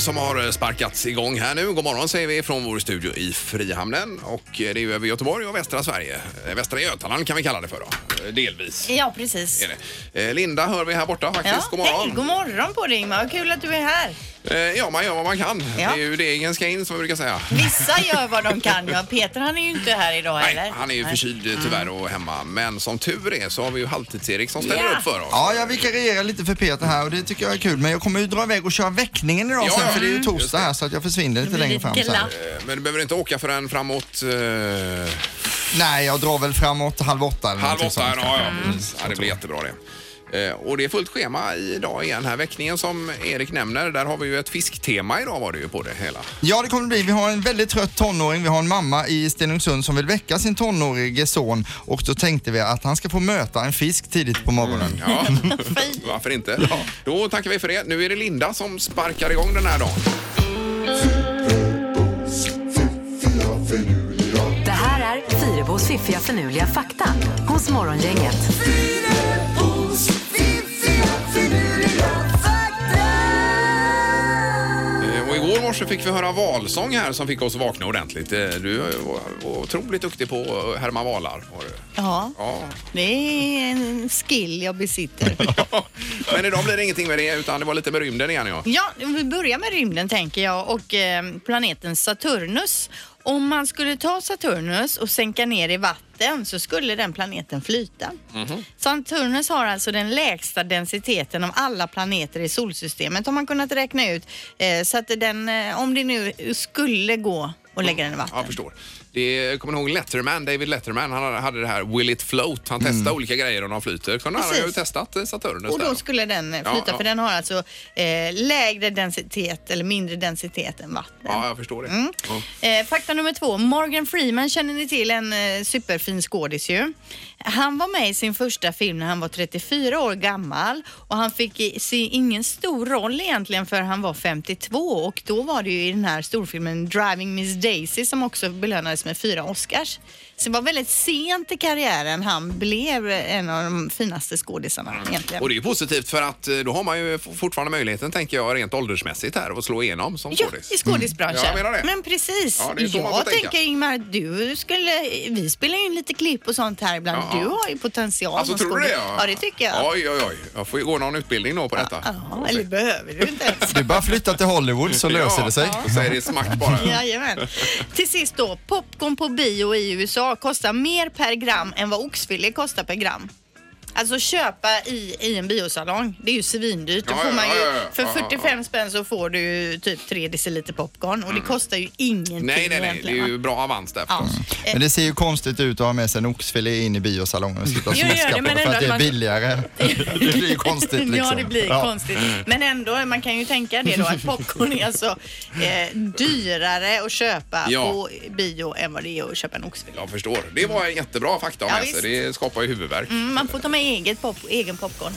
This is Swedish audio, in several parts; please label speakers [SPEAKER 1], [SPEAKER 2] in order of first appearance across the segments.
[SPEAKER 1] som har eh, sparkats igång här nu. God morgon säger vi från vår studio i Frihamnen. Och eh, det är ju över Göteborg och västra Sverige. Eh, Västra Götaland kan vi kalla det för då. Eh, Delvis.
[SPEAKER 2] Ja, precis.
[SPEAKER 1] Är det. Eh, Linda hör vi här borta faktiskt.
[SPEAKER 2] Ja,
[SPEAKER 1] God morgon.
[SPEAKER 2] Hej, god morgon på dig Ingmar. Vad kul att du är här.
[SPEAKER 1] Eh, ja, man gör vad man kan.
[SPEAKER 2] Ja.
[SPEAKER 1] Det är ju degen ska in som vi brukar säga.
[SPEAKER 2] Vissa gör vad de kan. Ja, Peter han är ju inte här idag
[SPEAKER 1] Nej,
[SPEAKER 2] eller?
[SPEAKER 1] han är ju
[SPEAKER 2] Nej.
[SPEAKER 1] förkyld eh, tyvärr och hemma. Men som tur är så har vi ju Halvtids-Erik som ställer
[SPEAKER 2] Ja.
[SPEAKER 1] upp för oss.
[SPEAKER 3] Ja, jag vikarierar lite för Peter här och det tycker jag är kul. Men jag kommer ju dra iväg och köra väckningen idag
[SPEAKER 1] Ja,
[SPEAKER 3] sen
[SPEAKER 1] ja.
[SPEAKER 3] för det är ju
[SPEAKER 1] Mm. Just
[SPEAKER 3] torsdag
[SPEAKER 1] det.
[SPEAKER 3] här så att jag försvinner lite
[SPEAKER 2] blir
[SPEAKER 3] längre
[SPEAKER 2] lite
[SPEAKER 3] fram sen.
[SPEAKER 2] glatt.
[SPEAKER 1] Eh, Men du behöver inte åka förrän framåt eh,
[SPEAKER 3] Nej, jag drar väl framåt halv åtta eller
[SPEAKER 1] halv
[SPEAKER 3] någonting
[SPEAKER 1] åtta.
[SPEAKER 3] sånt.
[SPEAKER 1] Ja, ja, precis. ja, det blir jättebra det. Eh, Och det är fullt schema idag igen här. Väckningen som Erik nämner, där har vi ju ett fisktema idag var det ju på det hela.
[SPEAKER 3] Ja, det kommer det bli. Vi har en väldigt trött tonåring. Vi har en mamma i Stenungsund som vill väcka sin tonårige son och då tänkte vi att han ska få möta en fisk tidigt på morgonen.
[SPEAKER 1] Ja, varför inte? Då tackar vi för det. Nu är det Linda som sparkar igång den här dagen.
[SPEAKER 4] Det här är Fyrabos fiffiga förnuliga fakta hos Morgongänget.
[SPEAKER 1] Eh, Och igår morse fick vi höra valsång här som fick oss att vakna ordentligt. Eh, Du var otroligt duktig på att härma valar. Var du.
[SPEAKER 2] Ja,
[SPEAKER 1] Ja.
[SPEAKER 2] det är en skill jag besitter.
[SPEAKER 1] Men idag blir det ingenting med det utan det var lite med rymden igen ja.
[SPEAKER 2] Ja, vi börjar med rymden tänker jag och eh, planeten Saturnus. Om man skulle ta Saturnus och sänka ner i vatten så skulle den planeten flyta.
[SPEAKER 1] Mhm.
[SPEAKER 2] Saturnus har alltså den lägsta densiteten av alla planeter i solsystemet har man kunnat räkna ut. Eh, så att den, eh, om det nu skulle gå och lägga den i
[SPEAKER 1] Mm. Jag
[SPEAKER 2] vatten.
[SPEAKER 1] förstår. Det, kommer ni ihåg Letterman, David Letterman, han hade det här Will it float? Han
[SPEAKER 3] Mm.
[SPEAKER 1] testade olika grejer om de flyter. Kunde han har ju
[SPEAKER 2] Precis.
[SPEAKER 1] testat eh, Saturnus
[SPEAKER 2] Och
[SPEAKER 1] där.
[SPEAKER 2] då skulle den eh,
[SPEAKER 1] Ja,
[SPEAKER 2] flyta
[SPEAKER 1] ja.
[SPEAKER 2] för den har alltså eh, lägre densitet eller mindre densitet än vatten.
[SPEAKER 1] Ja, jag förstår det. Ja.
[SPEAKER 2] Eh, fakta nummer två. Morgan Freeman känner ni till, en eh, superfin skådis ju. Han var med i sin första film när han var 34 år gammal och han fick i- se ingen stor roll egentligen för han var 52 och då var det ju i den här storfilmen Driving Miss Daisy som också belönades med fyra Oscars. Så det var väldigt sent i karriären han blev en av de finaste skådisarna egentligen.
[SPEAKER 1] Och det är ju positivt för att eh, då har man ju f- fortfarande möjligheten, tänker jag, rent åldersmässigt här att slå igenom som
[SPEAKER 2] Ja,
[SPEAKER 1] skådis.
[SPEAKER 2] i skådisbranschen.
[SPEAKER 1] Mm. Ja, jag menar det.
[SPEAKER 2] Men precis.
[SPEAKER 1] Ja, det är så man får
[SPEAKER 2] jag
[SPEAKER 1] tänka.
[SPEAKER 2] tänker Ingmar, du skulle, vi spelar in lite klipp och sånt här ibland.
[SPEAKER 1] Ja.
[SPEAKER 2] Du har ju potential som
[SPEAKER 1] Alltså, tror du det?
[SPEAKER 2] skådis. Ja, det tycker jag.
[SPEAKER 1] Oj, oj, oj. Jag får ju gå någon utbildning då på detta.
[SPEAKER 2] Ja, eller behöver du inte ens.
[SPEAKER 3] Du bara flytta till Hollywood så löser det sig.
[SPEAKER 1] Ja, så är det smack bara.
[SPEAKER 2] Jajamän. Till sist då, popcorn på bio i USA kostar mer per gram än vad oxfilé kostar per gram. Alltså köpa i, i en biosalong, det är ju svindyrt. Då
[SPEAKER 1] Ja,
[SPEAKER 2] får
[SPEAKER 1] ja,
[SPEAKER 2] man ju,
[SPEAKER 1] ja, ja, ja.
[SPEAKER 2] för
[SPEAKER 1] Ja, ja, ja.
[SPEAKER 2] 45 spänn så får du typ 3 deciliter popcorn och det kostar ju ingenting
[SPEAKER 1] Mm. Nej, nej, nej. Det
[SPEAKER 2] egentligen,
[SPEAKER 1] är
[SPEAKER 2] va?
[SPEAKER 1] ju bra avans där
[SPEAKER 2] Ja.
[SPEAKER 1] förstås.
[SPEAKER 2] Eh,
[SPEAKER 3] Men det ser ju konstigt ut att ha med sig en oxfilé in i biosalongen och sitta och
[SPEAKER 2] Jo, gör det,
[SPEAKER 3] smaska på
[SPEAKER 2] men
[SPEAKER 3] det för
[SPEAKER 2] ändå
[SPEAKER 3] att det
[SPEAKER 2] att
[SPEAKER 3] är
[SPEAKER 2] man-
[SPEAKER 3] billigare. Det blir ju konstigt liksom.
[SPEAKER 2] Ja, det blir
[SPEAKER 3] Ja.
[SPEAKER 2] konstigt. Men ändå, man kan ju tänka det då att popcorn är alltså eh, dyrare att köpa
[SPEAKER 1] Ja.
[SPEAKER 2] på bio än vad det är att köpa en oxfilé.
[SPEAKER 1] Jag förstår. Det var en jättebra fakta om
[SPEAKER 2] Ja,
[SPEAKER 1] Esse.
[SPEAKER 2] visst.
[SPEAKER 1] Det skapar ju huvudvärk.
[SPEAKER 2] Mm, man får ta med eget pop, egen popcorn.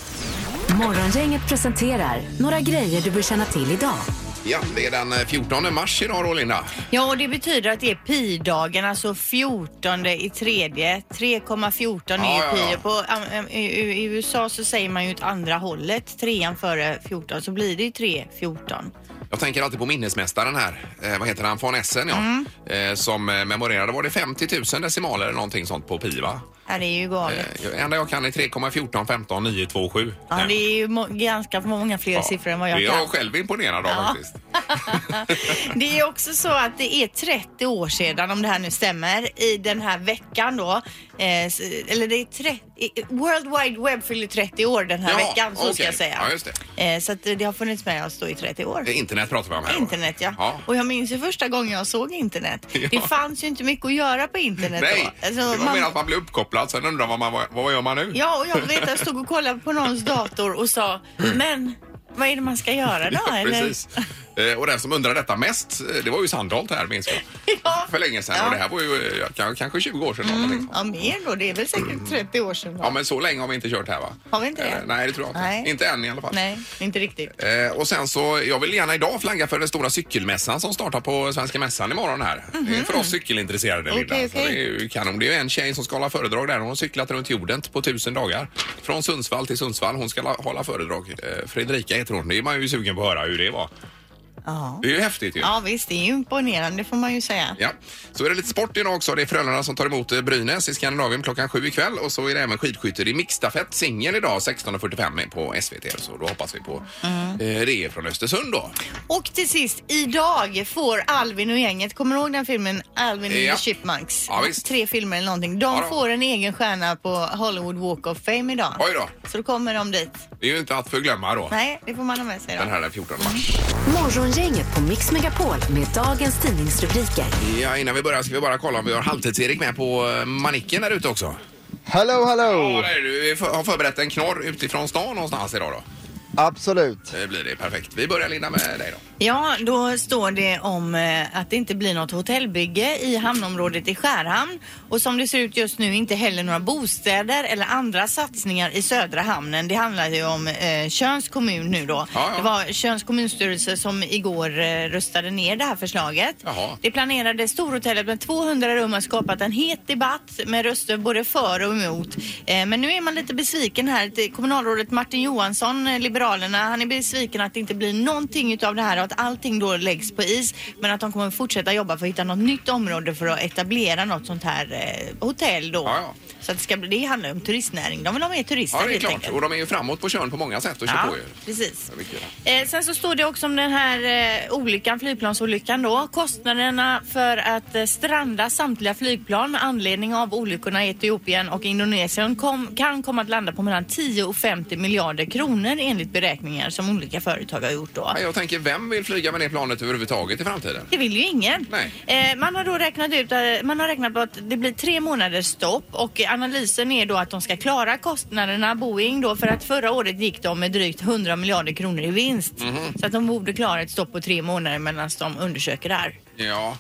[SPEAKER 4] Morgongänget presenterar några grejer du bör känna till idag.
[SPEAKER 1] Ja, det är den eh, 14 mars idag då, Linda.
[SPEAKER 2] Ja, och det betyder att det är pi-dagen, alltså 14 i tredje. 3,14 är ju
[SPEAKER 1] Ja, ja, ja.
[SPEAKER 2] pi. På, äm, i, i- I USA så säger man ju åt andra hållet, trean före 14, så blir det ju 3,14.
[SPEAKER 1] Jag tänker alltid på minnesmästaren här. Eh, vad heter han? Von Essen, ja.
[SPEAKER 2] Mm.
[SPEAKER 1] Eh, som eh, memorerade, var det 50 000 decimaler eller någonting sånt på pi, va?
[SPEAKER 2] Ja, det är ju galet.
[SPEAKER 1] Eh, enda jag kan är 3,14 15 927.
[SPEAKER 2] Ja, det är ju må- ganska många fler siffrå än vad jag
[SPEAKER 1] Det är
[SPEAKER 2] kan.
[SPEAKER 1] jag själv imponerad av faktiskt.
[SPEAKER 2] Det är också så att det är 30 år sedan, om det här nu stämmer, i den här veckan då. Eh, s- eller det är tre, i- World Wide Web fyller 30 år den här
[SPEAKER 1] Ja,
[SPEAKER 2] veckan, så ska
[SPEAKER 1] okej.
[SPEAKER 2] jag säga.
[SPEAKER 1] Ja, just
[SPEAKER 2] Eh, så att det har funnits med oss då i 30 år.
[SPEAKER 1] Eh, Internet pratar vi om här. va?
[SPEAKER 2] Internet ja. Och jag minns ju första gången jag såg internet. Det fanns ju inte mycket att göra på internet
[SPEAKER 1] Nej,
[SPEAKER 2] då. Alltså,
[SPEAKER 1] det var
[SPEAKER 2] man-
[SPEAKER 1] mer att man blev uppkopplad. Sen undrar man vad, vad gör man nu?
[SPEAKER 2] Ja, och jag vet att jag stod och kollade på någons dator och sa, men vad är det man ska göra då?
[SPEAKER 1] Mm. Ja,
[SPEAKER 2] eller?
[SPEAKER 1] precis. Eh, Och den som undrar detta mest, eh, det var ju Sandholt här minns jag.
[SPEAKER 2] Ja.
[SPEAKER 1] För länge sedan.
[SPEAKER 2] Ja.
[SPEAKER 1] Och det här var ju eh, kan- kanske 20 år sedan. Mm.
[SPEAKER 2] Ja, mer då. Det är väl säkert 30 år sedan. Då.
[SPEAKER 1] Ja, men så länge har vi inte kört här va?
[SPEAKER 2] Har vi inte det?
[SPEAKER 1] Eh, Nej, det tror jag inte.
[SPEAKER 2] Nej.
[SPEAKER 1] Inte än i alla fall.
[SPEAKER 2] Nej, inte riktigt.
[SPEAKER 1] Eh, och sen så, jag vill gärna idag flagga för den stora cykelmässan som startar på Svenska Mässan imorgon här. Det är för oss cykelintresserade
[SPEAKER 2] Mhm. Okej,
[SPEAKER 1] Linda. Så
[SPEAKER 2] okej.
[SPEAKER 1] Det är ju kanon. Det är ju en tjej som ska hålla föredrag där. Hon har cyklat runt jorden på tusen dagar. Från Sundsvall till Sundsvall. Hon ska la- hålla föredrag. Eh, Fredrika heter hon. Det är man ju sugen på att höra hur det var.
[SPEAKER 2] Ja.
[SPEAKER 1] Det är ju häftigt ju.
[SPEAKER 2] ja, visst. Det är ju imponerande får man ju säga.
[SPEAKER 1] Ja. Så är det lite sport idag också. Det är Frölunda som tar emot eh, Brynäs i Skandinavien klockan sju ikväll. Och så är det även skidskytte i mixstafett, singel idag 16.45 på SVT. Så då hoppas vi på
[SPEAKER 2] Mm.
[SPEAKER 1] eh, det från Östersund då.
[SPEAKER 2] Och till sist, idag får Alvin och gänget, kommer du ihåg den filmen Alvin och
[SPEAKER 1] Ja.
[SPEAKER 2] the Chipmunks?
[SPEAKER 1] Ja, visst.
[SPEAKER 2] Tre filmer eller någonting. De
[SPEAKER 1] Ja, då.
[SPEAKER 2] får en egen stjärna på Hollywood Walk of Fame idag.
[SPEAKER 1] Oj då.
[SPEAKER 2] Så då kommer de dit.
[SPEAKER 1] Det är ju inte att förglömma då.
[SPEAKER 2] Nej, det får man ha med sig
[SPEAKER 1] Den
[SPEAKER 2] då.
[SPEAKER 1] här den 14 mars.
[SPEAKER 4] Morgongänget på Mix Megapol med dagens tidningsrubriker.
[SPEAKER 1] Ja, innan vi börjar ska vi bara kolla om vi har halvtids-Erik med på eh, manicken där ute också.
[SPEAKER 5] Hello,
[SPEAKER 1] Ja,
[SPEAKER 5] hello!
[SPEAKER 1] det är du. Vi för- har förberett en knorr utifrån stan någonstans idag då.
[SPEAKER 5] Absolut.
[SPEAKER 1] Det blir det perfekt. Vi börjar Linda med dig då.
[SPEAKER 2] Ja, då står det om eh, att det inte blir något hotellbygge i hamnområdet i Skärhamn och som det ser ut just nu inte heller några bostäder eller andra satsningar i södra hamnen. Det handlar ju om eh, Tjörns kommun nu då.
[SPEAKER 1] Ja, ja.
[SPEAKER 2] Det var Tjörns kommunstyrelse som igår eh, röstade ner det här förslaget.
[SPEAKER 1] Jaha.
[SPEAKER 2] Det planerade storhotellet med 200 rum har skapat en het debatt med röster både för och emot. Eh, Men nu är man lite besviken här. Det- Kommunalrådet Martin Johansson, eh, Liberalerna, han är besviken att det inte blir någonting utav det här och att allting då läggs på is. Men att de kommer fortsätta jobba för att hitta något nytt område för att etablera något sånt här eh, hotell då.
[SPEAKER 1] Ja, ja.
[SPEAKER 2] Så att det, ska bli, det handlar ju om turistnäring. De vill ha mer turister
[SPEAKER 1] Ja, det är
[SPEAKER 2] helt
[SPEAKER 1] klart.
[SPEAKER 2] enkelt.
[SPEAKER 1] Och de är ju framåt på Tjörn på många sätt och kör
[SPEAKER 2] Ja,
[SPEAKER 1] på ju.
[SPEAKER 2] precis.
[SPEAKER 1] Ja, mycket.
[SPEAKER 2] Eh, sen så står det också om den här eh, olyckan, flygplansolyckan då. Kostnaderna för att eh, stranda samtliga flygplan med anledning av olyckorna i Etiopien och Indonesien kom, kan komma att landa på mellan 10 och 50 miljarder kronor enligt beräkningar som olika företag har gjort då.
[SPEAKER 1] Ja, Jag tänker, vem vill flyga med det planet överhuvudtaget i framtiden?
[SPEAKER 2] Det vill ju ingen.
[SPEAKER 1] Nej.
[SPEAKER 2] Eh, man har då räknat ut, eh, man har räknat på att det blir tre månaders stopp och analysen är då att de ska klara kostnaderna, Boeing då, för att förra året gick de med drygt 100 miljarder kronor i vinst.
[SPEAKER 1] Mhm.
[SPEAKER 2] Så att de borde klara ett stopp på tre månader medan de undersöker det här.
[SPEAKER 1] Ja,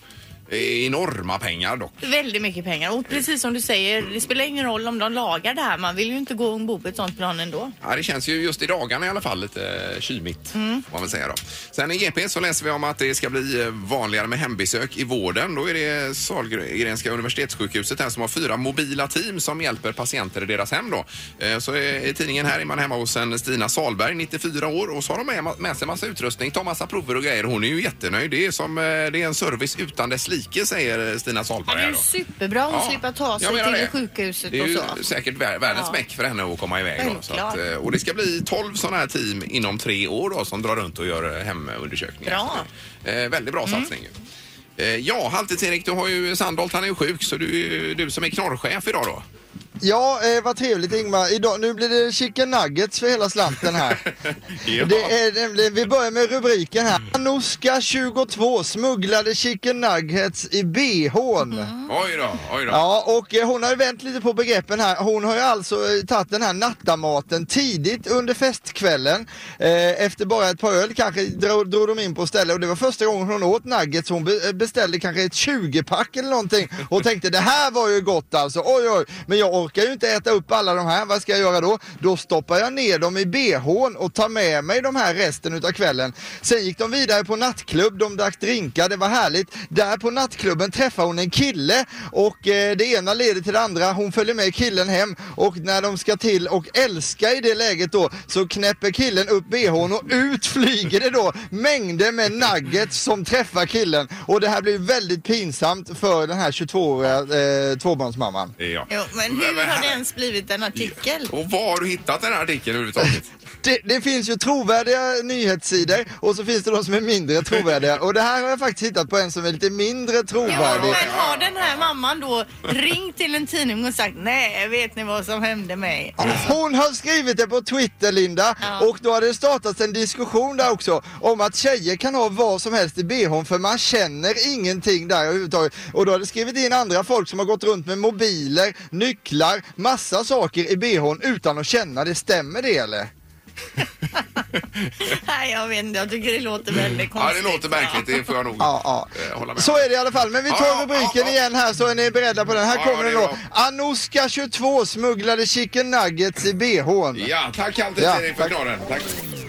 [SPEAKER 1] det är enorma pengar dock.
[SPEAKER 2] Väldigt mycket pengar och precis som du säger, det spelar ingen roll om de lagar det här. Man vill ju inte gå ombord på ett sånt plan ändå.
[SPEAKER 1] Ja, det känns ju just i dagarna i alla fall lite eh, kymigt. Mm. Man vill säga då. Sen i GP så läser vi om att det ska bli eh, vanligare med hembesök i vården. Då är det Sahlgrenska universitetssjukhuset här som har fyra mobila team som hjälper patienter i deras hem. Då. Eh, Så eh, i tidningen här är man hemma hos en Stina Salberg, 94 år och så har de med- med sig massa utrustning, tar massa prover och grejer. Hon är ju jättenöjd. Det är, som, eh, det är en service utan dess like säger eh, Stina
[SPEAKER 2] Ja,
[SPEAKER 1] Salberg.
[SPEAKER 2] det är
[SPEAKER 1] här
[SPEAKER 2] ju
[SPEAKER 1] då.
[SPEAKER 2] superbra att
[SPEAKER 1] Ja,
[SPEAKER 2] slippa ta sig
[SPEAKER 1] jag menar
[SPEAKER 2] till
[SPEAKER 1] det.
[SPEAKER 2] sjukhuset
[SPEAKER 1] Det är ju
[SPEAKER 2] och så.
[SPEAKER 1] säkert vär- världens
[SPEAKER 2] Ja.
[SPEAKER 1] meck för henne att komma iväg. Då, så att,
[SPEAKER 2] Självklart.
[SPEAKER 1] eh, och det ska bli 12 sådana här team inom tre år då, som drar runt och gör eh, hemundersökningar.
[SPEAKER 2] Bra. Mm.
[SPEAKER 1] Så, eh, väldigt bra satsning. ju. Eh, ja, Halvtids-Erik, du har ju Sandholt, han är ju sjuk så du är ju du som är knorrchef idag då.
[SPEAKER 5] Ja, eh, vad trevligt Ingmar. Idag, nu blir det chicken nuggets för hela slanten här.
[SPEAKER 1] Ja.
[SPEAKER 5] Det är, nämligen- vi börjar med rubriken här. Anoska 22 smugglade chicken nuggets i bhn.
[SPEAKER 1] Oj då, oj då.
[SPEAKER 5] Ja, och eh, hon har ju vänt lite på begreppen här. Hon har ju alltså eh, tagit den här nattamaten tidigt under festkvällen. Eh, efter bara ett par öl kanske drog, drog de in på stället och det var första gången hon åt nuggets. Hon be- eh, beställde kanske ett 20-pack eller någonting och tänkte det här var ju gott alltså. Oj, oj, men jag orkar ju inte äta upp alla de här. Vad ska jag göra då? Då stoppar jag ner dem i bhn och tar med mig de här resten utav kvällen. Sen gick de vidare på nattklubb. De drack drinkar. Det var härligt. Där på nattklubben träffar hon en kille och eh, det ena leder till det andra. Hon följer med killen hem och när de ska till och älska i det läget då så knäpper killen upp bhn och ut flyger det då mängder med nuggets som träffar killen och det här blir väldigt pinsamt för den här 22-åriga eh, tvåbarnsmamman.
[SPEAKER 1] Ja.
[SPEAKER 2] Jo, men hur
[SPEAKER 1] Men-
[SPEAKER 2] har det ens blivit en artikel?
[SPEAKER 1] Och var har du hittat den här artikeln överhuvudtaget?
[SPEAKER 5] Det, det finns ju trovärdiga nyhetssidor och så finns det de som är mindre trovärdiga och det här har jag faktiskt hittat på en som är lite mindre
[SPEAKER 2] Ja,
[SPEAKER 5] trovärdig.
[SPEAKER 2] men har den här mamman då ringt till en tidning och sagt nej, vet ni vad som hände mig?
[SPEAKER 5] Hon har skrivit det på Twitter Linda
[SPEAKER 2] Ja.
[SPEAKER 5] och då har det startats en diskussion där också om att tjejer kan ha vad som helst i bhn för man känner ingenting där överhuvudtaget. Och då har det skrivit in andra folk som har gått runt med mobiler, nycklar, massa saker i bhn utan att känna det. Stämmer det eller?
[SPEAKER 2] Nej, jag vet inte, jag tycker det låter väldigt
[SPEAKER 1] ja, det
[SPEAKER 2] konstigt.
[SPEAKER 1] låter märkligt. Det får jag nog
[SPEAKER 5] Ja, ja.
[SPEAKER 1] eh, hålla med
[SPEAKER 5] Så
[SPEAKER 1] om.
[SPEAKER 5] är det i alla fall. Men vi tar
[SPEAKER 1] Ja, ja, ja,
[SPEAKER 5] rubriken
[SPEAKER 1] ja.
[SPEAKER 5] igen här så är ni beredda på den. Här
[SPEAKER 1] Ja, ja,
[SPEAKER 5] kommer
[SPEAKER 1] det
[SPEAKER 5] den
[SPEAKER 1] är
[SPEAKER 5] då. Anoska 22 smugglade chicken nuggets i bhn.
[SPEAKER 1] Ja, tack
[SPEAKER 5] Ja,
[SPEAKER 1] Halvtids-Erik för
[SPEAKER 5] tack.
[SPEAKER 1] knorren. Tack.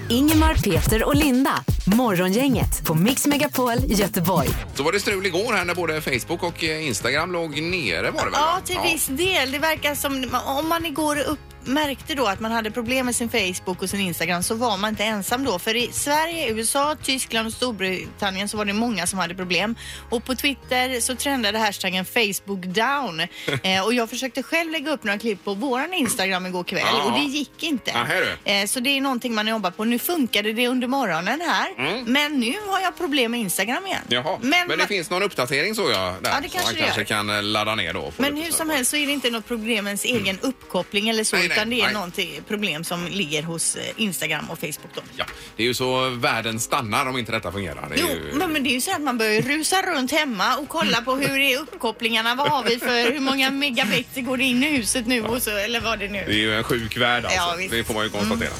[SPEAKER 4] Ingemar, Peter och Linda. Morgongänget på Mix Megapol Göteborg.
[SPEAKER 1] Så var det strul igår här när både Facebook och eh, Instagram låg nere var det väl?
[SPEAKER 2] Ja,
[SPEAKER 1] va?
[SPEAKER 2] till viss del. Det verkar som om man igår upp, märkte då att man hade problem med sin Facebook och sin Instagram så var man inte ensam då. För i Sverige, USA, Tyskland och Storbritannien så var det många som hade problem. Och på Twitter så trendade hashtaggen Facebook down. Eh, och jag försökte själv lägga upp några klipp på våran Instagram igår kväll
[SPEAKER 1] Ja.
[SPEAKER 2] och det gick inte.
[SPEAKER 1] Ah, här du.
[SPEAKER 2] Eh, Så det är någonting man jobbar på. Nu funkade det under morgonen här. Men nu har jag problem med Instagram igen.
[SPEAKER 1] Mm. Jaha, men,
[SPEAKER 2] Men,
[SPEAKER 1] det
[SPEAKER 2] man-
[SPEAKER 1] finns någon uppdatering såg jag där.
[SPEAKER 2] Ja, det
[SPEAKER 1] som
[SPEAKER 2] kanske
[SPEAKER 1] man
[SPEAKER 2] det
[SPEAKER 1] kanske
[SPEAKER 2] gör.
[SPEAKER 1] kan eh, ladda ner då. och få
[SPEAKER 2] men
[SPEAKER 1] lite
[SPEAKER 2] hur
[SPEAKER 1] snabbt.
[SPEAKER 2] som helst så är det inte något problem med ens egen uppkoppling eller så
[SPEAKER 1] Mm. Nej,
[SPEAKER 2] utan
[SPEAKER 1] nej,
[SPEAKER 2] det är
[SPEAKER 1] nej.
[SPEAKER 2] någonting problem som ligger hos eh, Instagram och Facebook då.
[SPEAKER 1] Ja, det är ju så världen stannar om inte detta fungerar. Det är
[SPEAKER 2] Jo,
[SPEAKER 1] ju...
[SPEAKER 2] men, men det är ju så att man börjar rusa runt hemma och kolla på hur är uppkopplingarna, vad har vi för, hur många megabit går det in i huset nu och så, eller vad det nu
[SPEAKER 1] Det är ju en sjuk värld alltså.
[SPEAKER 2] Ja, visst. Mm.
[SPEAKER 1] det får man ju konstatera.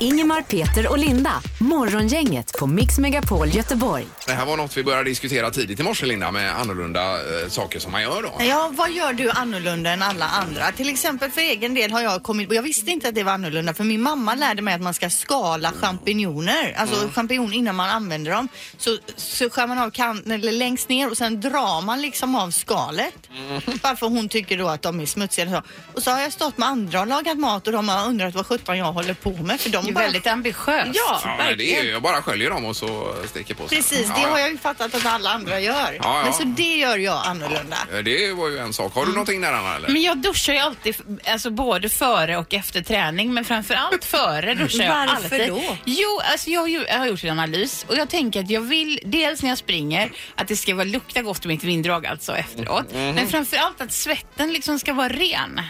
[SPEAKER 4] Ingemar, Peter och Linda. Morgongänget på Mix Megapol Göteborg.
[SPEAKER 1] Det här var något vi började diskutera tidigt i morse Linda med annorlunda eh, saker som man gör då.
[SPEAKER 2] Ja, vad gör du annorlunda än alla andra? Till exempel för egen del har jag kommit Jag visste inte att det var annorlunda för min mamma lärde mig att man ska skala champinjoner, alltså
[SPEAKER 1] Mm.
[SPEAKER 2] champinjon innan man använder dem. Så, så skär man av kanten eller längst ner och sen drar man liksom av skalet.
[SPEAKER 1] Mm.
[SPEAKER 2] Varför hon tycker då att de är smutsiga eller så. Och så har jag stått med andra och lagat mat och de har undrat vad sjutton jag håller på med för
[SPEAKER 6] Det
[SPEAKER 2] de
[SPEAKER 6] är
[SPEAKER 2] bara...
[SPEAKER 6] väldigt ambitiöst.
[SPEAKER 2] Ja,
[SPEAKER 1] Ja, men det är
[SPEAKER 2] verkligen.
[SPEAKER 1] ju, jag bara sköljer dem och så steker på sig.
[SPEAKER 2] Precis,
[SPEAKER 1] ja,
[SPEAKER 2] det
[SPEAKER 1] ja.
[SPEAKER 2] har jag ju fattat att alla andra gör.
[SPEAKER 1] Ja, ja.
[SPEAKER 2] Men så det gör jag Mm. annorlunda.
[SPEAKER 1] Eh, Det var ju en sak. Har du någonting där Anna eller?
[SPEAKER 6] Men jag duschar ju alltid, f- alltså både före och efter träning, men framför allt före duschar jag
[SPEAKER 2] Varför
[SPEAKER 6] alltid.
[SPEAKER 2] då?
[SPEAKER 6] Jo, alltså jag har, ju, jag har gjort en analys och jag tänker att jag vill, dels när jag springer, att det ska vara lukta gott i mitt vinddrag alltså efteråt,
[SPEAKER 2] Mm,
[SPEAKER 6] men framför allt att svetten liksom ska vara ren.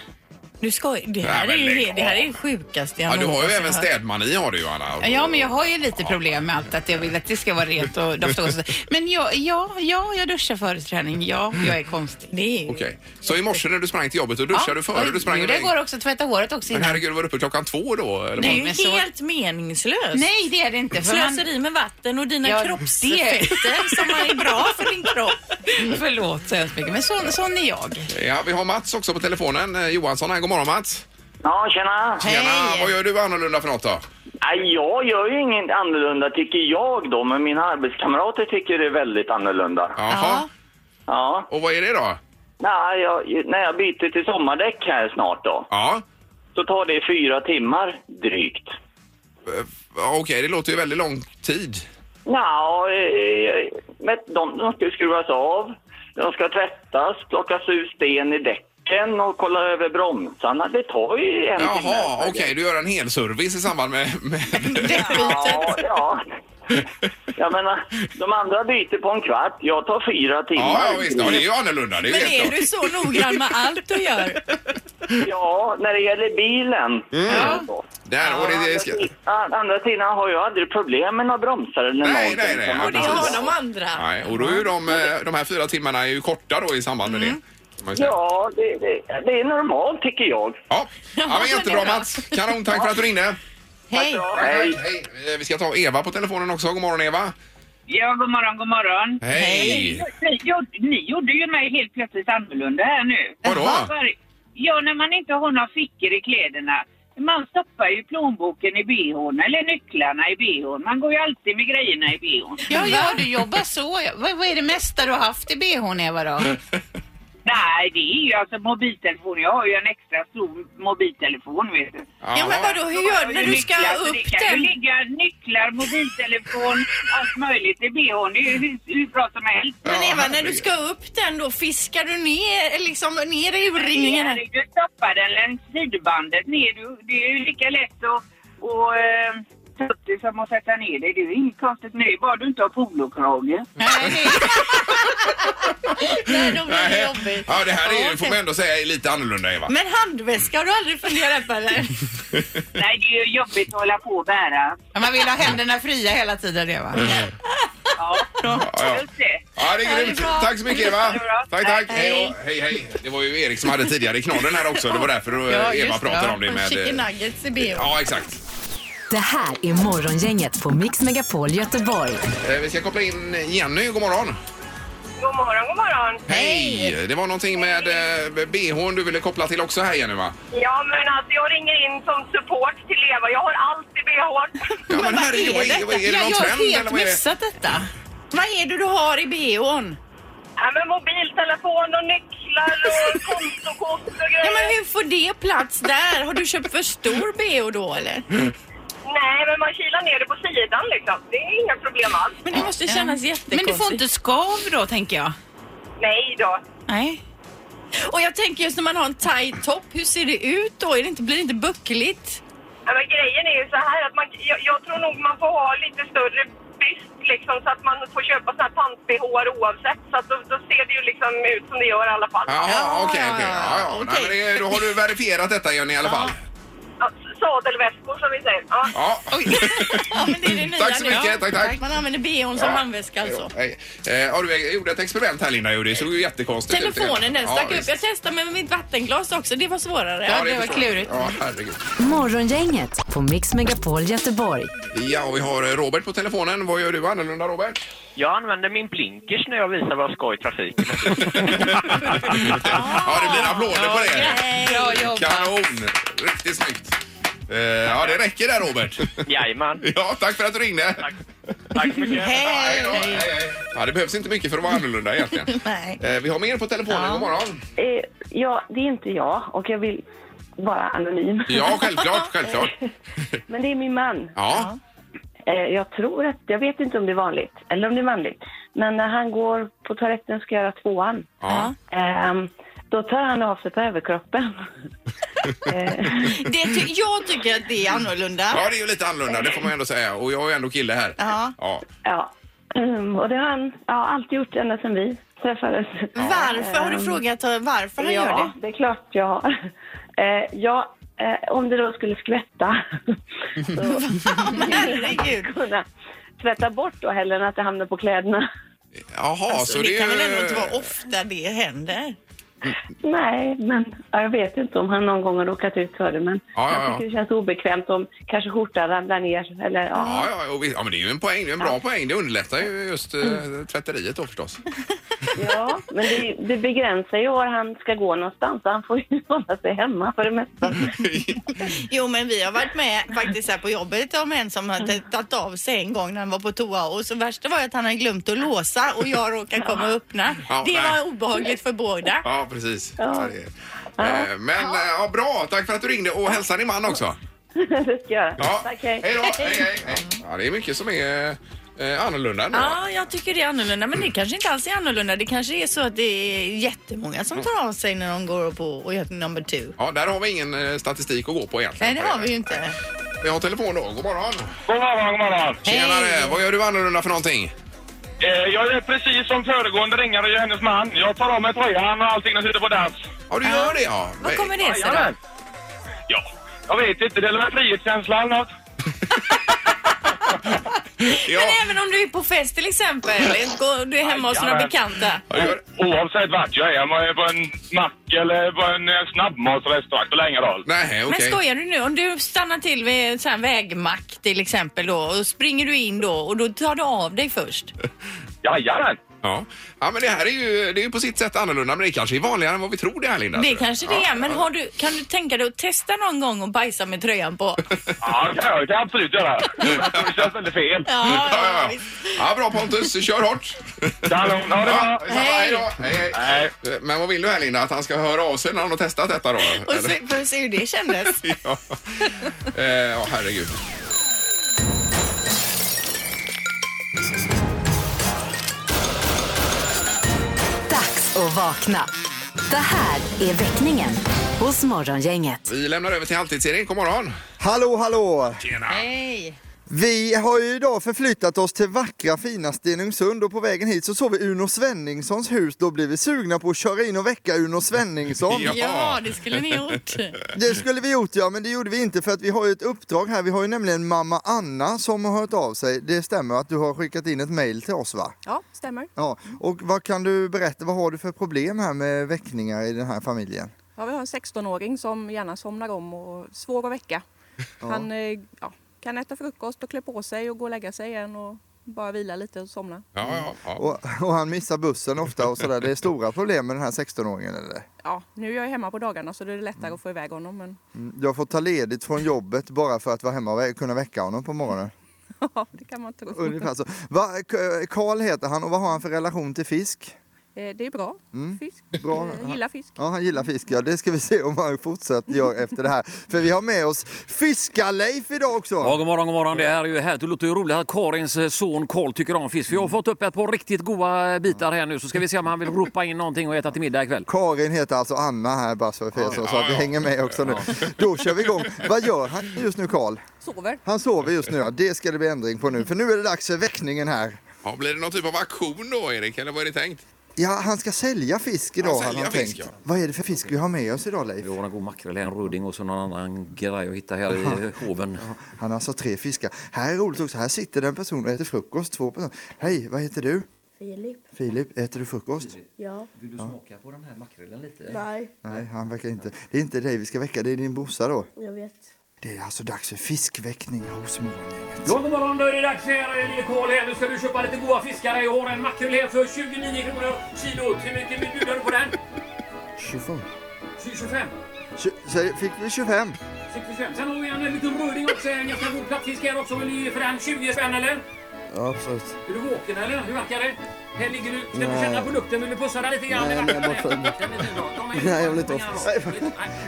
[SPEAKER 2] Du skoj, det
[SPEAKER 1] Nej,
[SPEAKER 2] här är
[SPEAKER 1] men
[SPEAKER 2] ju
[SPEAKER 1] lägg
[SPEAKER 2] det här
[SPEAKER 1] av.
[SPEAKER 2] är det sjukaste jag
[SPEAKER 1] Ja, du har ju
[SPEAKER 2] någonsin
[SPEAKER 1] även
[SPEAKER 2] hört.
[SPEAKER 1] städmani har du ju Anna.
[SPEAKER 6] Ja, men jag har ju lite problem med allt att jag vill att det ska vara rent och dofta gott. Men jag, ja, ja, jag duschar före träning. Ja, jag är konstig.
[SPEAKER 2] Det är ju...
[SPEAKER 1] Okej, så i morse när du sprang till jobbet, då duschade du före du sprang
[SPEAKER 6] Jo, Det
[SPEAKER 1] iväg?
[SPEAKER 6] går också att tvätta håret också
[SPEAKER 1] Men
[SPEAKER 6] innan.
[SPEAKER 1] herregud, var du uppe klockan två då? Eller
[SPEAKER 2] Det är
[SPEAKER 1] vad?
[SPEAKER 2] ju
[SPEAKER 6] Men så-
[SPEAKER 2] helt meningslöst.
[SPEAKER 6] Nej, det är det inte. för man-
[SPEAKER 2] Slöseri med vatten och dina
[SPEAKER 6] Ja,
[SPEAKER 2] kroppseffekter som är bra för din kropp.
[SPEAKER 6] Förlåt så hemskt mycket, men sån, sån är jag.
[SPEAKER 1] Ja, vi har Mats också på telefonen. Eh, Johansson här. God morgon Mats!
[SPEAKER 7] Ja, tjena.
[SPEAKER 1] Tjena! Vad gör du annorlunda för något då?
[SPEAKER 7] Nej, Jag gör ju inget annorlunda tycker jag då, men mina arbetskamrater tycker det är väldigt annorlunda.
[SPEAKER 1] Jaha.
[SPEAKER 7] Ja.
[SPEAKER 1] Och vad är det då?
[SPEAKER 7] Nej, jag, när jag byter till sommardäck här snart då,
[SPEAKER 1] Ja.
[SPEAKER 7] så tar det fyra timmar drygt.
[SPEAKER 1] Eh, Okej, det låter ju väldigt lång tid.
[SPEAKER 7] Ja, eh, men de, de ska ju skruvas av, de ska tvättas, plockas ur sten i däcken och kolla över bromsarna. Det tar ju en timme.
[SPEAKER 1] Jaha, okej, du gör en hel service i samband med... med...
[SPEAKER 7] Ja, ja. Jag menar, de andra byter på en kvart. Jag tar fyra timmar.
[SPEAKER 1] Ja, ja, visst. Ja, det är ju annorlunda. Det är ju
[SPEAKER 2] Men
[SPEAKER 1] helt
[SPEAKER 2] är
[SPEAKER 1] klart.
[SPEAKER 2] du så noggrann med allt du gör?
[SPEAKER 7] Ja, när det gäller bilen. Ja.
[SPEAKER 1] Där, och Mm. det, det ska...
[SPEAKER 7] Å andra sidan har jag aldrig problem med några bromsar eller
[SPEAKER 1] Nej,
[SPEAKER 7] någonting.
[SPEAKER 1] nej, nej.
[SPEAKER 7] Man-
[SPEAKER 1] Ja,
[SPEAKER 2] Och det
[SPEAKER 1] precis.
[SPEAKER 2] har de andra.
[SPEAKER 1] Nej, och då är ju de, eh, de här fyra timmarna är ju korta då i samband med det. kan man ju säga.
[SPEAKER 7] Ja, det, det, det är normalt tycker jag.
[SPEAKER 1] Ja. ja, men jättebra
[SPEAKER 2] det är bra.
[SPEAKER 1] Mats. Kanon, tack för att du ringde.
[SPEAKER 2] Hej!
[SPEAKER 7] Hej.
[SPEAKER 1] Hej. Eh, Vi ska ta Eva på telefonen också. God morgon Eva.
[SPEAKER 8] Ja, god morgon, god morgon.
[SPEAKER 1] Hej!
[SPEAKER 8] Ni, gjorde- ni gjorde ju mig helt plötsligt annorlunda här nu.
[SPEAKER 1] Vadå?
[SPEAKER 8] För- Ja, när man inte har några fickor i kläderna. Man stoppar ju plånboken i bhn, eller nycklarna i bhn. Man går ju alltid med grejerna i bhn.
[SPEAKER 6] Ja, ja, du jobbar så. ja. Vad, vad är det mesta du har haft i bhn, Eva, då?
[SPEAKER 8] Nej, det är ju alltså mobiltelefon. Jag har ju en extra stor mobiltelefon, vet du.
[SPEAKER 2] Ja men vadå, hur gör du när du ska
[SPEAKER 8] Nycklar, så det
[SPEAKER 2] upp
[SPEAKER 8] kan ju
[SPEAKER 2] den?
[SPEAKER 8] ligga nycklar, mobiltelefon, allt möjligt i bhn. Det är ju hur, hur bra som helst.
[SPEAKER 2] Men
[SPEAKER 1] Ja,
[SPEAKER 2] Eva, när du
[SPEAKER 1] herregud.
[SPEAKER 2] ska upp den då, fiskar du ner, liksom, ner i urringningen? här?
[SPEAKER 8] Du stoppar den längs sidbandet ner. Du, det är ju lika lätt att och, eh, ta upp det som att sätta ner det. Det är ju inget konstigt med det, bara du inte har polokrage.
[SPEAKER 6] Nej, det är...
[SPEAKER 2] Nej, då blir det
[SPEAKER 1] Nej.
[SPEAKER 2] jobbigt.
[SPEAKER 1] Ja, det här är ju,
[SPEAKER 2] okej.
[SPEAKER 1] får man ändå säga, är lite annorlunda Eva.
[SPEAKER 2] Men handväska har du aldrig funderat på eller?
[SPEAKER 8] Nej, det är ju jobbigt att hålla på och bära.
[SPEAKER 6] Ja, Man vill ha händerna fria hela tiden, Eva.
[SPEAKER 8] Ja,
[SPEAKER 1] ja.
[SPEAKER 8] just det.
[SPEAKER 1] Ja, det
[SPEAKER 2] Ja, det
[SPEAKER 1] är
[SPEAKER 2] är
[SPEAKER 1] grymt.
[SPEAKER 2] bra.
[SPEAKER 1] Tack så mycket Eva.
[SPEAKER 8] Det är bra.
[SPEAKER 1] Tack, tack.
[SPEAKER 8] Tack.
[SPEAKER 1] Hej, då. hej, hej. Det var ju Erik som hade tidigare i knorren här också. Det var därför eh,
[SPEAKER 6] Ja, just
[SPEAKER 1] Eva
[SPEAKER 6] det.
[SPEAKER 1] pratade om det med...
[SPEAKER 2] Chicken
[SPEAKER 1] eh,
[SPEAKER 2] nuggets i bio.
[SPEAKER 1] Ja, exakt.
[SPEAKER 4] Det här är Morgongänget på Mix Megapol Göteborg.
[SPEAKER 1] Eh, Vi ska koppla in Jenny. God morgon.
[SPEAKER 8] God morgon, god morgon.
[SPEAKER 1] Hej! Det var någonting med eh, bhn du ville koppla till också här Jenny va?
[SPEAKER 8] Ja, men alltså jag ringer in som support till Eva. Jag har alltid bh.
[SPEAKER 1] Ja, men herregud, vad är, vad är, är det
[SPEAKER 6] Ja,
[SPEAKER 1] någon
[SPEAKER 6] jag har
[SPEAKER 1] trend eller
[SPEAKER 6] helt
[SPEAKER 1] vad är det?
[SPEAKER 6] missat detta.
[SPEAKER 2] Vad är det du har i bhn?
[SPEAKER 8] Ja, men mobiltelefon och nycklar och kontokort
[SPEAKER 9] post och
[SPEAKER 6] Ja,
[SPEAKER 9] grejer.
[SPEAKER 6] men hur får det plats där? Har du köpt för stor bh då eller?
[SPEAKER 9] Nej, men man kilar ner det på sidan liksom. Det är inga problem alls.
[SPEAKER 10] Men det måste kännas
[SPEAKER 6] Men
[SPEAKER 10] jättekonstigt.
[SPEAKER 6] du får inte skav då, tänker jag.
[SPEAKER 9] Nej då.
[SPEAKER 6] Nej.
[SPEAKER 10] Och jag tänker just när man har en tight topp, hur ser det ut då? Är det inte, blir det inte buckligt?
[SPEAKER 9] Ja, Men grejen är ju så här att man, jag, jag tror nog man får ha lite större byst liksom så att man får köpa såna här pant-bh oavsett. Så att då, då ser det ju liksom ut som det gör i alla fall.
[SPEAKER 1] Jaha, okej, okej. Ja, ja. Nej, men det- Då har du verifierat detta, Jenny, i alla fall.
[SPEAKER 9] Ja, sadelväskor som vi säger. Ja.
[SPEAKER 1] Ja.
[SPEAKER 10] Ja, men det är det nya
[SPEAKER 1] Tack så
[SPEAKER 10] nu.
[SPEAKER 1] mycket, tack, tack.
[SPEAKER 10] Man använder bhn som handväska alltså.
[SPEAKER 1] Hej. Eh, ja, du jag gjorde ett experiment här, Linda. gjorde. Det såg ju jättekonstigt ut.
[SPEAKER 10] Telefonen den stack
[SPEAKER 1] Ja,
[SPEAKER 10] upp. Jag testade med mitt vattenglas också, det var svårare.
[SPEAKER 1] Ja,
[SPEAKER 10] Ja,
[SPEAKER 6] det var
[SPEAKER 1] förstår jag.
[SPEAKER 6] klurigt.
[SPEAKER 1] Ja, herregud.
[SPEAKER 4] Morgongänget på Mix Megapol Göteborg.
[SPEAKER 1] Ja, och vi har eh, Robert på telefonen. Vad gör du annorlunda, Robert?
[SPEAKER 7] Jag använder min blinkers när jag visar vad jag ska i
[SPEAKER 10] Ah.
[SPEAKER 7] trafiken.
[SPEAKER 1] ja, det blir applåder på det.
[SPEAKER 6] Bra jobbat.
[SPEAKER 1] Kanon! Riktigt snyggt. Eh, ja, det räcker där, Robert.
[SPEAKER 7] Jajamän.
[SPEAKER 1] ja, tack för att du ringde.
[SPEAKER 7] Tack så mycket.
[SPEAKER 1] Hej då. Hej, hej. Ja, det behövs inte mycket för att vara annorlunda egentligen.
[SPEAKER 2] Nej.
[SPEAKER 1] Eh, vi har mer på telefonen. God morgon.
[SPEAKER 11] Eh, ja, det är inte jag och jag vill vara anonym.
[SPEAKER 1] Ja, självklart, självklart.
[SPEAKER 11] Men det är min man.
[SPEAKER 1] Ja,
[SPEAKER 11] Eh, jag tror att, jag vet inte om det är vanligt, eller om det är manligt. Men när han går på toaletten och ska göra tvåan,
[SPEAKER 1] ja.
[SPEAKER 11] ehm, då tar han av sig på överkroppen.
[SPEAKER 2] Det ty- jag tycker att det är annorlunda.
[SPEAKER 1] ja, det är ju lite annorlunda, det får man ändå säga. Och jag är ju ändå kille här.
[SPEAKER 2] Ja.
[SPEAKER 1] Ja.
[SPEAKER 11] ja. Mm, och det har han ja, alltid gjort ända sedan vi träffades. Ehm,
[SPEAKER 2] Varför? Har du frågat varför han gör
[SPEAKER 11] Ja,
[SPEAKER 2] det?
[SPEAKER 11] det är klart jag har. Eh, ja, eh, om det då skulle skvätta så
[SPEAKER 2] Men herregud.
[SPEAKER 11] kunna tvätta bort då hellre än att det hamnar på kläderna.
[SPEAKER 1] Jaha,
[SPEAKER 2] Alltså,
[SPEAKER 1] så
[SPEAKER 2] det,
[SPEAKER 1] det,
[SPEAKER 2] kan
[SPEAKER 1] är-
[SPEAKER 2] väl ändå inte vara ofta det händer?
[SPEAKER 11] Nej, men ja, jag vet inte om han någon gång har råkat ut för det. Men
[SPEAKER 1] Ja, ja,
[SPEAKER 11] jag
[SPEAKER 1] ja.
[SPEAKER 11] tycker det känns obekvämt om kanske skjortan ramlar ner. Eller, ja.
[SPEAKER 1] Ja, ja, ja, och vi- ja, men det är ju en poäng. Det är en bra poäng. Det underlättar ju just eh, tvätteriet då förstås.
[SPEAKER 11] ja, men det, det begränsar ju var han ska gå någonstans. så Han får ju hålla sig hemma för det mesta.
[SPEAKER 2] Jo, men vi har varit med faktiskt här på jobbet om en som hade tagit av sig en gång när han var på toa och så värsta var ju att han hade glömt att låsa och jag råkade komma och öppna.
[SPEAKER 1] Ja,
[SPEAKER 2] Det
[SPEAKER 1] nej.
[SPEAKER 2] var obehagligt för båda.
[SPEAKER 1] Ja, precis.
[SPEAKER 11] Ja.
[SPEAKER 1] Ja. det är- Eh, Men eh, ja, bra, tack för att du ringde och hälsa din man också.
[SPEAKER 11] det ska jag göra.
[SPEAKER 1] Ja.
[SPEAKER 11] Tack, hej.
[SPEAKER 1] då. Hej, hej, hej. Ja, det är mycket som är eh, annorlunda nu.
[SPEAKER 10] Ja, jag tycker det är annorlunda, men det kanske inte alls är annorlunda. Det kanske är så att det är jättemånga som tar av sig när de går på och gör number two.
[SPEAKER 1] Ja, där har vi ingen eh, statistik att gå på egentligen.
[SPEAKER 2] Nej, det har vi ju inte.
[SPEAKER 1] Vi har telefon då. God morgon.
[SPEAKER 7] God morgon, god morgon.
[SPEAKER 1] Tjenare, vad gör du annorlunda för någonting?
[SPEAKER 7] Eh, jag är precis som föregående ringare, jag är hennes man. Jag tar av mig tröjan och allting och sitter på dans.
[SPEAKER 1] Ja, du gör det ja.
[SPEAKER 10] Vad kommer det sig då?
[SPEAKER 7] Jajamän. Ja, jag vet inte. Det är väl frihetskänsla eller något.
[SPEAKER 1] Ja,
[SPEAKER 10] Men även om du är på fest till exempel, går- du är hemma hos några
[SPEAKER 7] Jajamän.
[SPEAKER 10] bekanta.
[SPEAKER 1] jag gör det.
[SPEAKER 7] Oavsett vart jag är, om jag är på en mack eller på en eh, snabbmatsrestaurang, spelar ingen roll.
[SPEAKER 1] Nej,
[SPEAKER 10] Men
[SPEAKER 1] okej.
[SPEAKER 10] skojar du nu? Om du stannar till vid en sån här vägmack till exempel då och springer du in då och då tar du av dig först.
[SPEAKER 7] Jajamän!
[SPEAKER 1] Ja. ja, men det här är ju, det är ju på sitt sätt annorlunda, men det kanske är vanligare än vad vi tror det här Linda.
[SPEAKER 10] Det
[SPEAKER 1] tror du?
[SPEAKER 10] kanske det är, men har du, kan du tänka dig att testa någon gång och bajsa med tröjan på?
[SPEAKER 7] Ja, det kan jag- det kan jag absolut göra. Det känns väldigt fel.
[SPEAKER 10] Ja,
[SPEAKER 1] Ja, ja, ja. ja, bra Pontus, kör hårt.
[SPEAKER 7] Kanon, ha det bra!
[SPEAKER 1] detsamma. Hej då. Hej, hej.
[SPEAKER 7] Nej.
[SPEAKER 1] Men vad vill du här Linda? Att han ska höra av sig när han har testat detta då?
[SPEAKER 2] Och
[SPEAKER 1] Eller?
[SPEAKER 2] se, för att se hur det kändes.
[SPEAKER 1] ja. Eh, ja, herregud.
[SPEAKER 4] Dags att vakna. Det här är väckningen hos Morgongänget.
[SPEAKER 1] Vi lämnar över till halvtids-Erik. God morgon.
[SPEAKER 5] Hallå, hallå!
[SPEAKER 1] Tjena.
[SPEAKER 2] Nej.
[SPEAKER 5] Vi har ju idag förflyttat oss till vackra fina Stenungsund och på vägen hit så såg vi Uno Svenningssons hus. Då blev vi sugna på att köra in och väcka Uno Svenningsson.
[SPEAKER 1] Ja.
[SPEAKER 10] Ja, det skulle ni ha gjort.
[SPEAKER 5] Det skulle vi gjort ja, men det gjorde vi inte för att vi har ju ett uppdrag här. Vi har ju nämligen mamma Anna som har hört av sig. Det stämmer att du har skickat in ett mejl till oss va?
[SPEAKER 10] Ja, stämmer.
[SPEAKER 5] Ja, och vad kan du berätta, vad har du för problem här med väckningar i den här familjen?
[SPEAKER 10] Ja, vi har en 16-åring som gärna somnar om och svår att väcka. Han eh, kan äta frukost och klä på sig och gå och lägga sig igen och bara vila lite och somna.
[SPEAKER 1] Ja, ja, ja.
[SPEAKER 5] Och, och han missar bussen ofta och sådär. Det är stora problem med den här 16-åringen eller?
[SPEAKER 10] Ja, nu är jag hemma på dagarna så det är lättare att få iväg honom. Men
[SPEAKER 5] Mm, Du har fått ta ledigt från jobbet bara för att vara hemma och vä- kunna väcka honom på morgonen.
[SPEAKER 10] det kan man tro.
[SPEAKER 5] Ungefär så. Va, K- Karl heter han och vad har han för relation till fisk?
[SPEAKER 10] Eh, Det är bra.
[SPEAKER 5] Mm.
[SPEAKER 10] Fisk.
[SPEAKER 5] Bra.
[SPEAKER 10] Eh, Gillar fisk.
[SPEAKER 5] Ja, han gillar fisk. Ja, det ska vi se om han fortsätter göra efter det här. För vi har med oss Fiskar-Leif idag också.
[SPEAKER 12] Ja, god morgon, god morgon. Det är ju här. Det låter ju roligt att Karins eh, son Karl tycker om fisk. För jag har fått upp ett par riktigt goda bitar här nu så ska vi se om han vill ropa in någonting och äta till middag ikväll.
[SPEAKER 5] Karin heter alltså Anna här bara så, ja, så
[SPEAKER 12] ja,
[SPEAKER 5] att vi
[SPEAKER 12] ja.
[SPEAKER 5] hänger med också nu. Då kör vi igång. Vad gör han just nu Karl?
[SPEAKER 10] Sover.
[SPEAKER 5] Han sover just nu. Ja, det ska det bli ändring på nu. För nu är det dags för väckningen här.
[SPEAKER 1] Ja, blir det någon typ av aktion då, Erik? Eller vad är det tänkt?
[SPEAKER 5] Ja, han ska sälja fisk idag
[SPEAKER 1] Han
[SPEAKER 5] har
[SPEAKER 1] säljer
[SPEAKER 5] han
[SPEAKER 1] fisk,
[SPEAKER 5] tänkt.
[SPEAKER 1] ja.
[SPEAKER 5] Vad är det för fisk vi har med oss idag Leif?
[SPEAKER 12] Vi har en god makrill, en rudding och så någon annan grej jag hittade här i hoven.
[SPEAKER 5] Han har alltså tre fiskar. Här är roligt också. Här sitter den person och äter frukost. Två personer. Hej, vad heter du?
[SPEAKER 13] Filip.
[SPEAKER 5] Filip, äter du frukost?
[SPEAKER 13] Ja.
[SPEAKER 12] Vill du smaka på den här makrillen lite?
[SPEAKER 13] Nej,
[SPEAKER 5] Nej, han verkar inte. Det är inte dig vi ska väcka, det är din brorsa då.
[SPEAKER 13] jag vet.
[SPEAKER 5] Det är alltså dags för fiskväckning hos Morgongänget.
[SPEAKER 12] Ja, god morgon. Då är det dags här, eh, lille Karl. Här. Nu ska du köpa lite goda fiskar. Jag har en makrill här för 29 kronor kilot. Hur mycket vill bjuda du på den?
[SPEAKER 5] 25.
[SPEAKER 12] 25.
[SPEAKER 5] Tju- säg- Fick vi 25?
[SPEAKER 12] 65. Sen har vi en liten rudding också. En ganska god plattfisk här också. Vill du ge för den 20 spänn eller?
[SPEAKER 5] Ja, absolut.
[SPEAKER 12] Är du vaken eller? Hur verkar det? Här ligger du. Ska du
[SPEAKER 5] Nej.
[SPEAKER 12] känna på lukten? Vill du pussa den lite grann?
[SPEAKER 5] Nej,
[SPEAKER 12] Det verkar
[SPEAKER 5] nej, vad
[SPEAKER 12] det.
[SPEAKER 5] fint.
[SPEAKER 12] Den är fin då. Kom igen.
[SPEAKER 5] Nej, jag vill inte offra.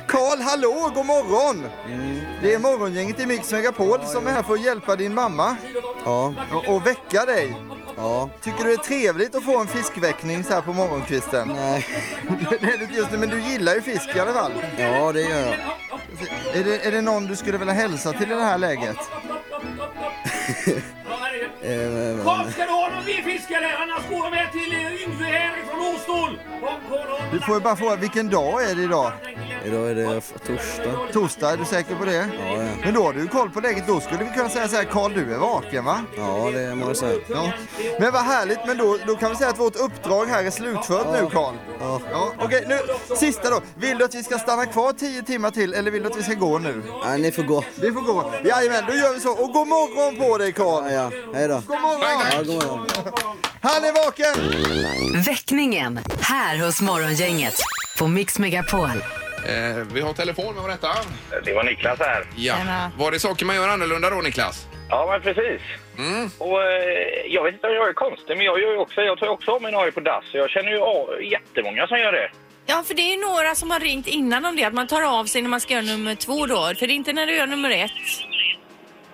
[SPEAKER 5] Karl, hallå, god morgon! Det är morgongänget i Mix Megapol som är här för att hjälpa din mamma. Ja. Och, och väcka dig. Ja. Tycker du det är trevligt att få en fiskväckning så här på morgonkvisten? Nej. det är det inte just nu, men du gillar ju fisk i alla fall. Ja, det gör jag. Är det, är det någon du skulle vilja hälsa till i det här läget? Eh,
[SPEAKER 12] Kom, ska du ha någon mer fisk eller? Annars går de här till eh, Yngve här ifrån Åstol. Kom, Karl. och-
[SPEAKER 5] Du får ju bara fråga, vilken dag är det idag?
[SPEAKER 14] Idag är det torsdag.
[SPEAKER 5] Torsdag, är du säker på det?
[SPEAKER 14] Ja, ja.
[SPEAKER 5] Men då har du ju koll på läget. Då skulle vi kunna säga så här, Karl du är vaken va?
[SPEAKER 14] Ja, det må jag säga.
[SPEAKER 5] Ja. Men vad härligt, men då, då kan vi säga att vårt uppdrag här är slutfört nu Karl. Ja. Okej, nu sista då. Vill du att vi ska stanna kvar 10 timmar till eller vill du att vi ska gå nu? Nej, ni får gå. Vi får gå. Jajamän, då gör vi så. Och god morgon på dig Karl! Ja, hej då. God morgon! Ja, god morgon. Han är vaken!
[SPEAKER 4] Väckningen här hos Morgongänget på Mix Megapol.
[SPEAKER 1] Eh, vi har telefon, vem var detta?
[SPEAKER 7] Det var Niklas här.
[SPEAKER 1] Ja. Var det saker man gör annorlunda då, Niklas?
[SPEAKER 7] Ja, men precis. Och, eh, jag vet inte om jag är konstig, men jag, gör ju också, jag tar ju också av mig en AI på dass. så Jag känner ju av, jättemånga som gör det.
[SPEAKER 15] Ja, för det är ju några som har ringt innan om det, att man tar av sig när man ska göra nummer två då. För det är inte när du gör nummer ett.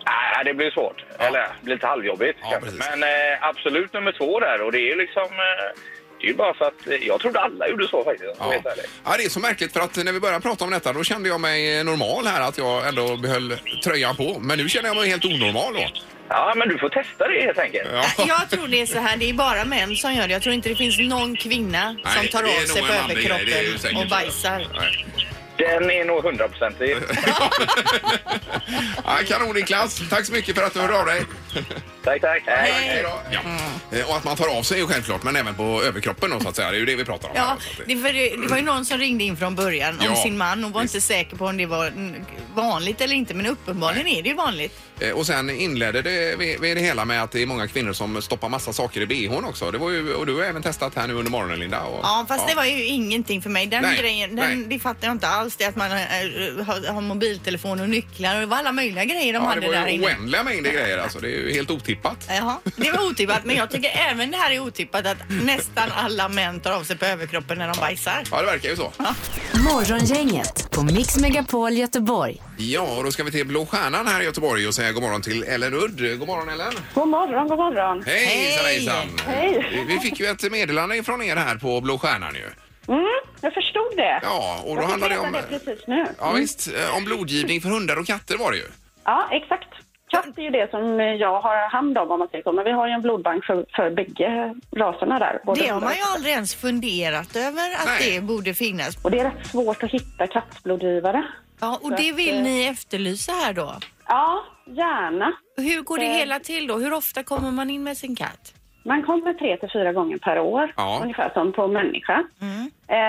[SPEAKER 7] Nej, det blir svårt. Eller, det blir lite halvjobbigt. kanske. men eh, absolut nummer två där. Och det är ju liksom... Eh, det är ju bara för att eh, jag trodde alla gjorde så faktiskt. om jag ska vara helt ärlig.
[SPEAKER 1] Ja, det är så märkligt för att när vi började prata om detta då kände jag mig normal här att jag ändå behöll tröjan på. Men nu känner jag mig helt onormal då.
[SPEAKER 7] Ja, men du får testa det helt enkelt.
[SPEAKER 15] Jag tror det är så här, det är bara män som gör det. Jag tror inte det finns någon kvinna
[SPEAKER 7] Nej,
[SPEAKER 15] som tar
[SPEAKER 7] det är
[SPEAKER 15] av sig
[SPEAKER 7] nog
[SPEAKER 15] på
[SPEAKER 7] en manlig grej, det är ju
[SPEAKER 15] överkroppen
[SPEAKER 7] säkert
[SPEAKER 15] och
[SPEAKER 7] så.
[SPEAKER 15] bajsar.
[SPEAKER 7] Den är nog hundraprocentig.
[SPEAKER 1] Ja, kanon Niklas! Tack så mycket för att du hörde av dig.
[SPEAKER 7] tack, tack. Hej.
[SPEAKER 1] då. Ja. Eh, Och att man tar av sig är ju självklart, men även på överkroppen då, så att säga. Det är ju det vi pratar om.
[SPEAKER 2] Ja, det var, det var ju någon som ringde in från början om
[SPEAKER 1] Ja,
[SPEAKER 2] sin man. Hon var inte säker på om det var mm, vanligt eller inte, men uppenbarligen är det ju vanligt.
[SPEAKER 1] Eh, Och sen inledde det, vi vi det hela med att det är många kvinnor som stoppar massa saker i bhn också. Det var ju, och du har även testat här nu under morgonen Linda. Och,
[SPEAKER 2] Ja, fast det var ju ingenting för mig. Den
[SPEAKER 1] Nej,
[SPEAKER 2] grejen,
[SPEAKER 1] nej.
[SPEAKER 2] den, det fattar jag inte alls. Det att man eh, har, har mobiltelefon och nycklar och det var alla möjliga grejer de
[SPEAKER 1] ja,
[SPEAKER 2] hade
[SPEAKER 1] det var
[SPEAKER 2] där
[SPEAKER 1] ju
[SPEAKER 2] inne.
[SPEAKER 1] oändliga mängder grejer alltså. Det är ju helt otippat.
[SPEAKER 2] Jaha, det var otippat. Men jag tycker även det här är otippat att nästan alla män tar av sig på överkroppen när de bajsar.
[SPEAKER 1] Ja, det verkar ju så.
[SPEAKER 4] Morgongänget på Mix Megapol Göteborg.
[SPEAKER 1] Ja, och då ska vi till Blå Stjärnan här i Göteborg och säga god morgon till Ellen Udd. God morgon Ellen!
[SPEAKER 16] God morgon, god morgon.
[SPEAKER 1] Hej, hejsan, hejsan!
[SPEAKER 16] Hej.
[SPEAKER 1] Vi- Vi fick ju ett meddelande från er här på Blå Stjärnan ju.
[SPEAKER 16] Mm, jag förstod det.
[SPEAKER 1] Ja, och
[SPEAKER 16] jag
[SPEAKER 1] då
[SPEAKER 16] fick
[SPEAKER 1] handlar det
[SPEAKER 16] veta
[SPEAKER 1] om-
[SPEAKER 16] det precis nu.
[SPEAKER 1] Ja, visst, eh, om blodgivning för hundar och katter var det ju.
[SPEAKER 16] Ja, exakt. Katt är ju det som jag har hand om, om man säger så. Men vi har ju en blodbank för, för bägge raserna där. både
[SPEAKER 2] Det har
[SPEAKER 16] hundar
[SPEAKER 2] man
[SPEAKER 16] och
[SPEAKER 2] ju aldrig ens funderat över att det borde finnas.
[SPEAKER 16] Och det är rätt svårt att hitta kattblodgivare.
[SPEAKER 2] Ja, och det
[SPEAKER 16] eh,
[SPEAKER 2] vill ni efterlysa här då?
[SPEAKER 16] Ja, gärna.
[SPEAKER 15] Hur går det
[SPEAKER 16] Eh.
[SPEAKER 15] hela till då? Hur ofta kommer man in med sin katt?
[SPEAKER 16] Man kommer tre till fyra gånger per år,
[SPEAKER 15] Ja.
[SPEAKER 16] ungefär som på människa.
[SPEAKER 2] Mm.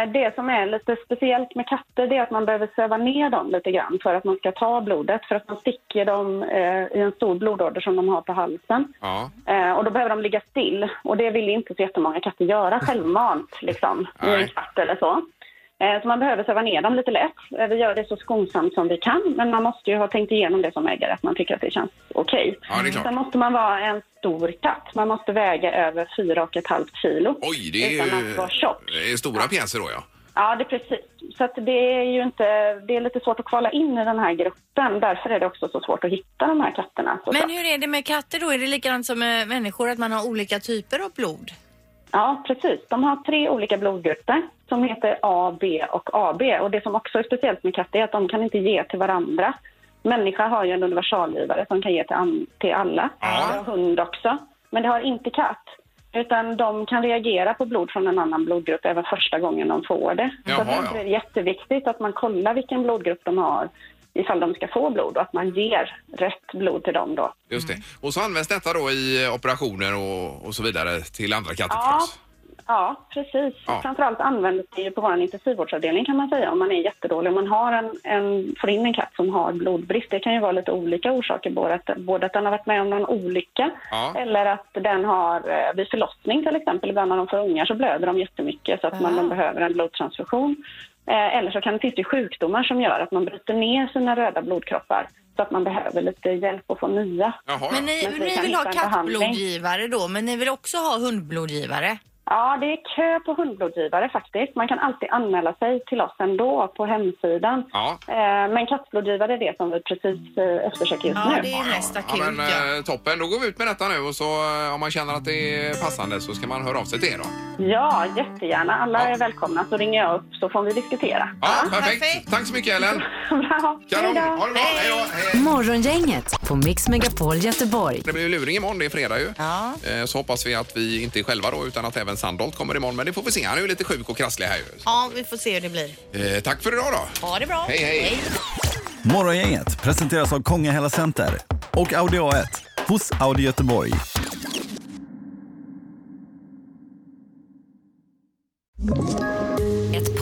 [SPEAKER 16] Eh, Det som är lite speciellt med katter det är att man behöver söva ner dem lite grann för att man ska ta blodet. För att man sticker dem eh, i en stor blodorder som de har på halsen.
[SPEAKER 1] Ja.
[SPEAKER 16] Eh, och då behöver de ligga still. Och det vill inte så jättemånga katter göra självmant, liksom, i en kvart eller så. Eh, Så man behöver söva ner dem lite lätt. Eh, Vi gör det så skonsamt som vi kan, men man måste ju ha tänkt igenom det som ägare, att man tycker att det känns okej.
[SPEAKER 1] Ja, det är klart.
[SPEAKER 16] Sen måste man vara en stor katt. Man måste väga över 4,5 kilo.
[SPEAKER 1] Oj, det är
[SPEAKER 16] Utan att vara tjock.
[SPEAKER 1] ju det är stora pjäser då ja.
[SPEAKER 16] Ja, det är precis. Så att det är ju inte, det är lite svårt att kvala in i den här gruppen. Därför är det också så svårt att hitta de här katterna. Så
[SPEAKER 15] Men
[SPEAKER 16] klart.
[SPEAKER 15] hur är det med katter då? Är det likadant som med människor att man har olika typer av blod?
[SPEAKER 16] Ja, precis. De har tre olika blodgrupper som heter A, B och AB. Och det som också är speciellt med katter är att de kan inte ge till varandra. Människa har ju en universalgivare som kan ge till, an- till alla. Det har hund också. Men det har inte katt. Utan de kan reagera på blod från en annan blodgrupp även första gången de får det. Så
[SPEAKER 1] Jaha,
[SPEAKER 16] därför är det jätteviktigt att man kollar vilken blodgrupp de har ifall de ska få blod och att man ger rätt blod till dem då.
[SPEAKER 1] Just det. Och så används detta då i eh, operationer och, och så vidare till andra katter
[SPEAKER 16] Ja,
[SPEAKER 1] förstås.
[SPEAKER 16] ja precis.
[SPEAKER 1] Ja.
[SPEAKER 16] Framförallt används det ju på vår intensivvårdsavdelning kan man säga om man är jättedålig. Om man har en, en, får in en katt som har blodbrist, det kan ju vara lite olika orsaker. Både att, både att den har varit med om någon olycka
[SPEAKER 1] Ja.
[SPEAKER 16] eller att den har eh, vid förlossning till exempel, ibland när de får ungar så blöder de jättemycket så att man, man behöver en blodtransfusion. Eh, eller så kan det finnas ju sjukdomar som gör att man bryter ner sina röda blodkroppar så att man behöver lite hjälp att få nya.
[SPEAKER 15] Men ni,
[SPEAKER 16] vi
[SPEAKER 15] ni
[SPEAKER 16] kan
[SPEAKER 15] vill ha
[SPEAKER 16] hitta en behandling.
[SPEAKER 15] kattblodgivare då, men ni vill också ha hundblodgivare?
[SPEAKER 16] Ja, det är kö på hundblodgivare faktiskt. Man kan alltid anmäla sig till oss ändå på hemsidan.
[SPEAKER 1] Ja.
[SPEAKER 16] Eh, Men kattblodgivare är det som vi precis eh, eftersöker just nu.
[SPEAKER 15] mest
[SPEAKER 1] akut. Ja, men, eh, Toppen, då går vi ut med detta nu och så eh, om man känner att det är passande så ska man höra av sig till er då.
[SPEAKER 16] Ja, jättegärna. Alla är välkomna så ringer jag upp så får vi diskutera.
[SPEAKER 1] Ja, perfekt. Tack så mycket Ellen.
[SPEAKER 16] Bra.
[SPEAKER 1] Kanon. Ha det bra. Hej då.
[SPEAKER 4] Morgongänget på Mix Megapol Göteborg.
[SPEAKER 1] Det blir ju luring imorgon, det är fredag ju. Eh, Så hoppas vi att vi inte är själva då utan att även Sandholt kommer imorgon. Men det får vi se, han är ju lite sjuk och krasslig här ju.
[SPEAKER 2] Ja, vi får se hur det blir.
[SPEAKER 1] Eh, Tack för idag då.
[SPEAKER 2] Ha det bra.
[SPEAKER 1] Hej, hej.
[SPEAKER 13] Morgongänget presenteras av Kongahälla Center och Audi A1 hos Audi Göteborg.
[SPEAKER 4] Ett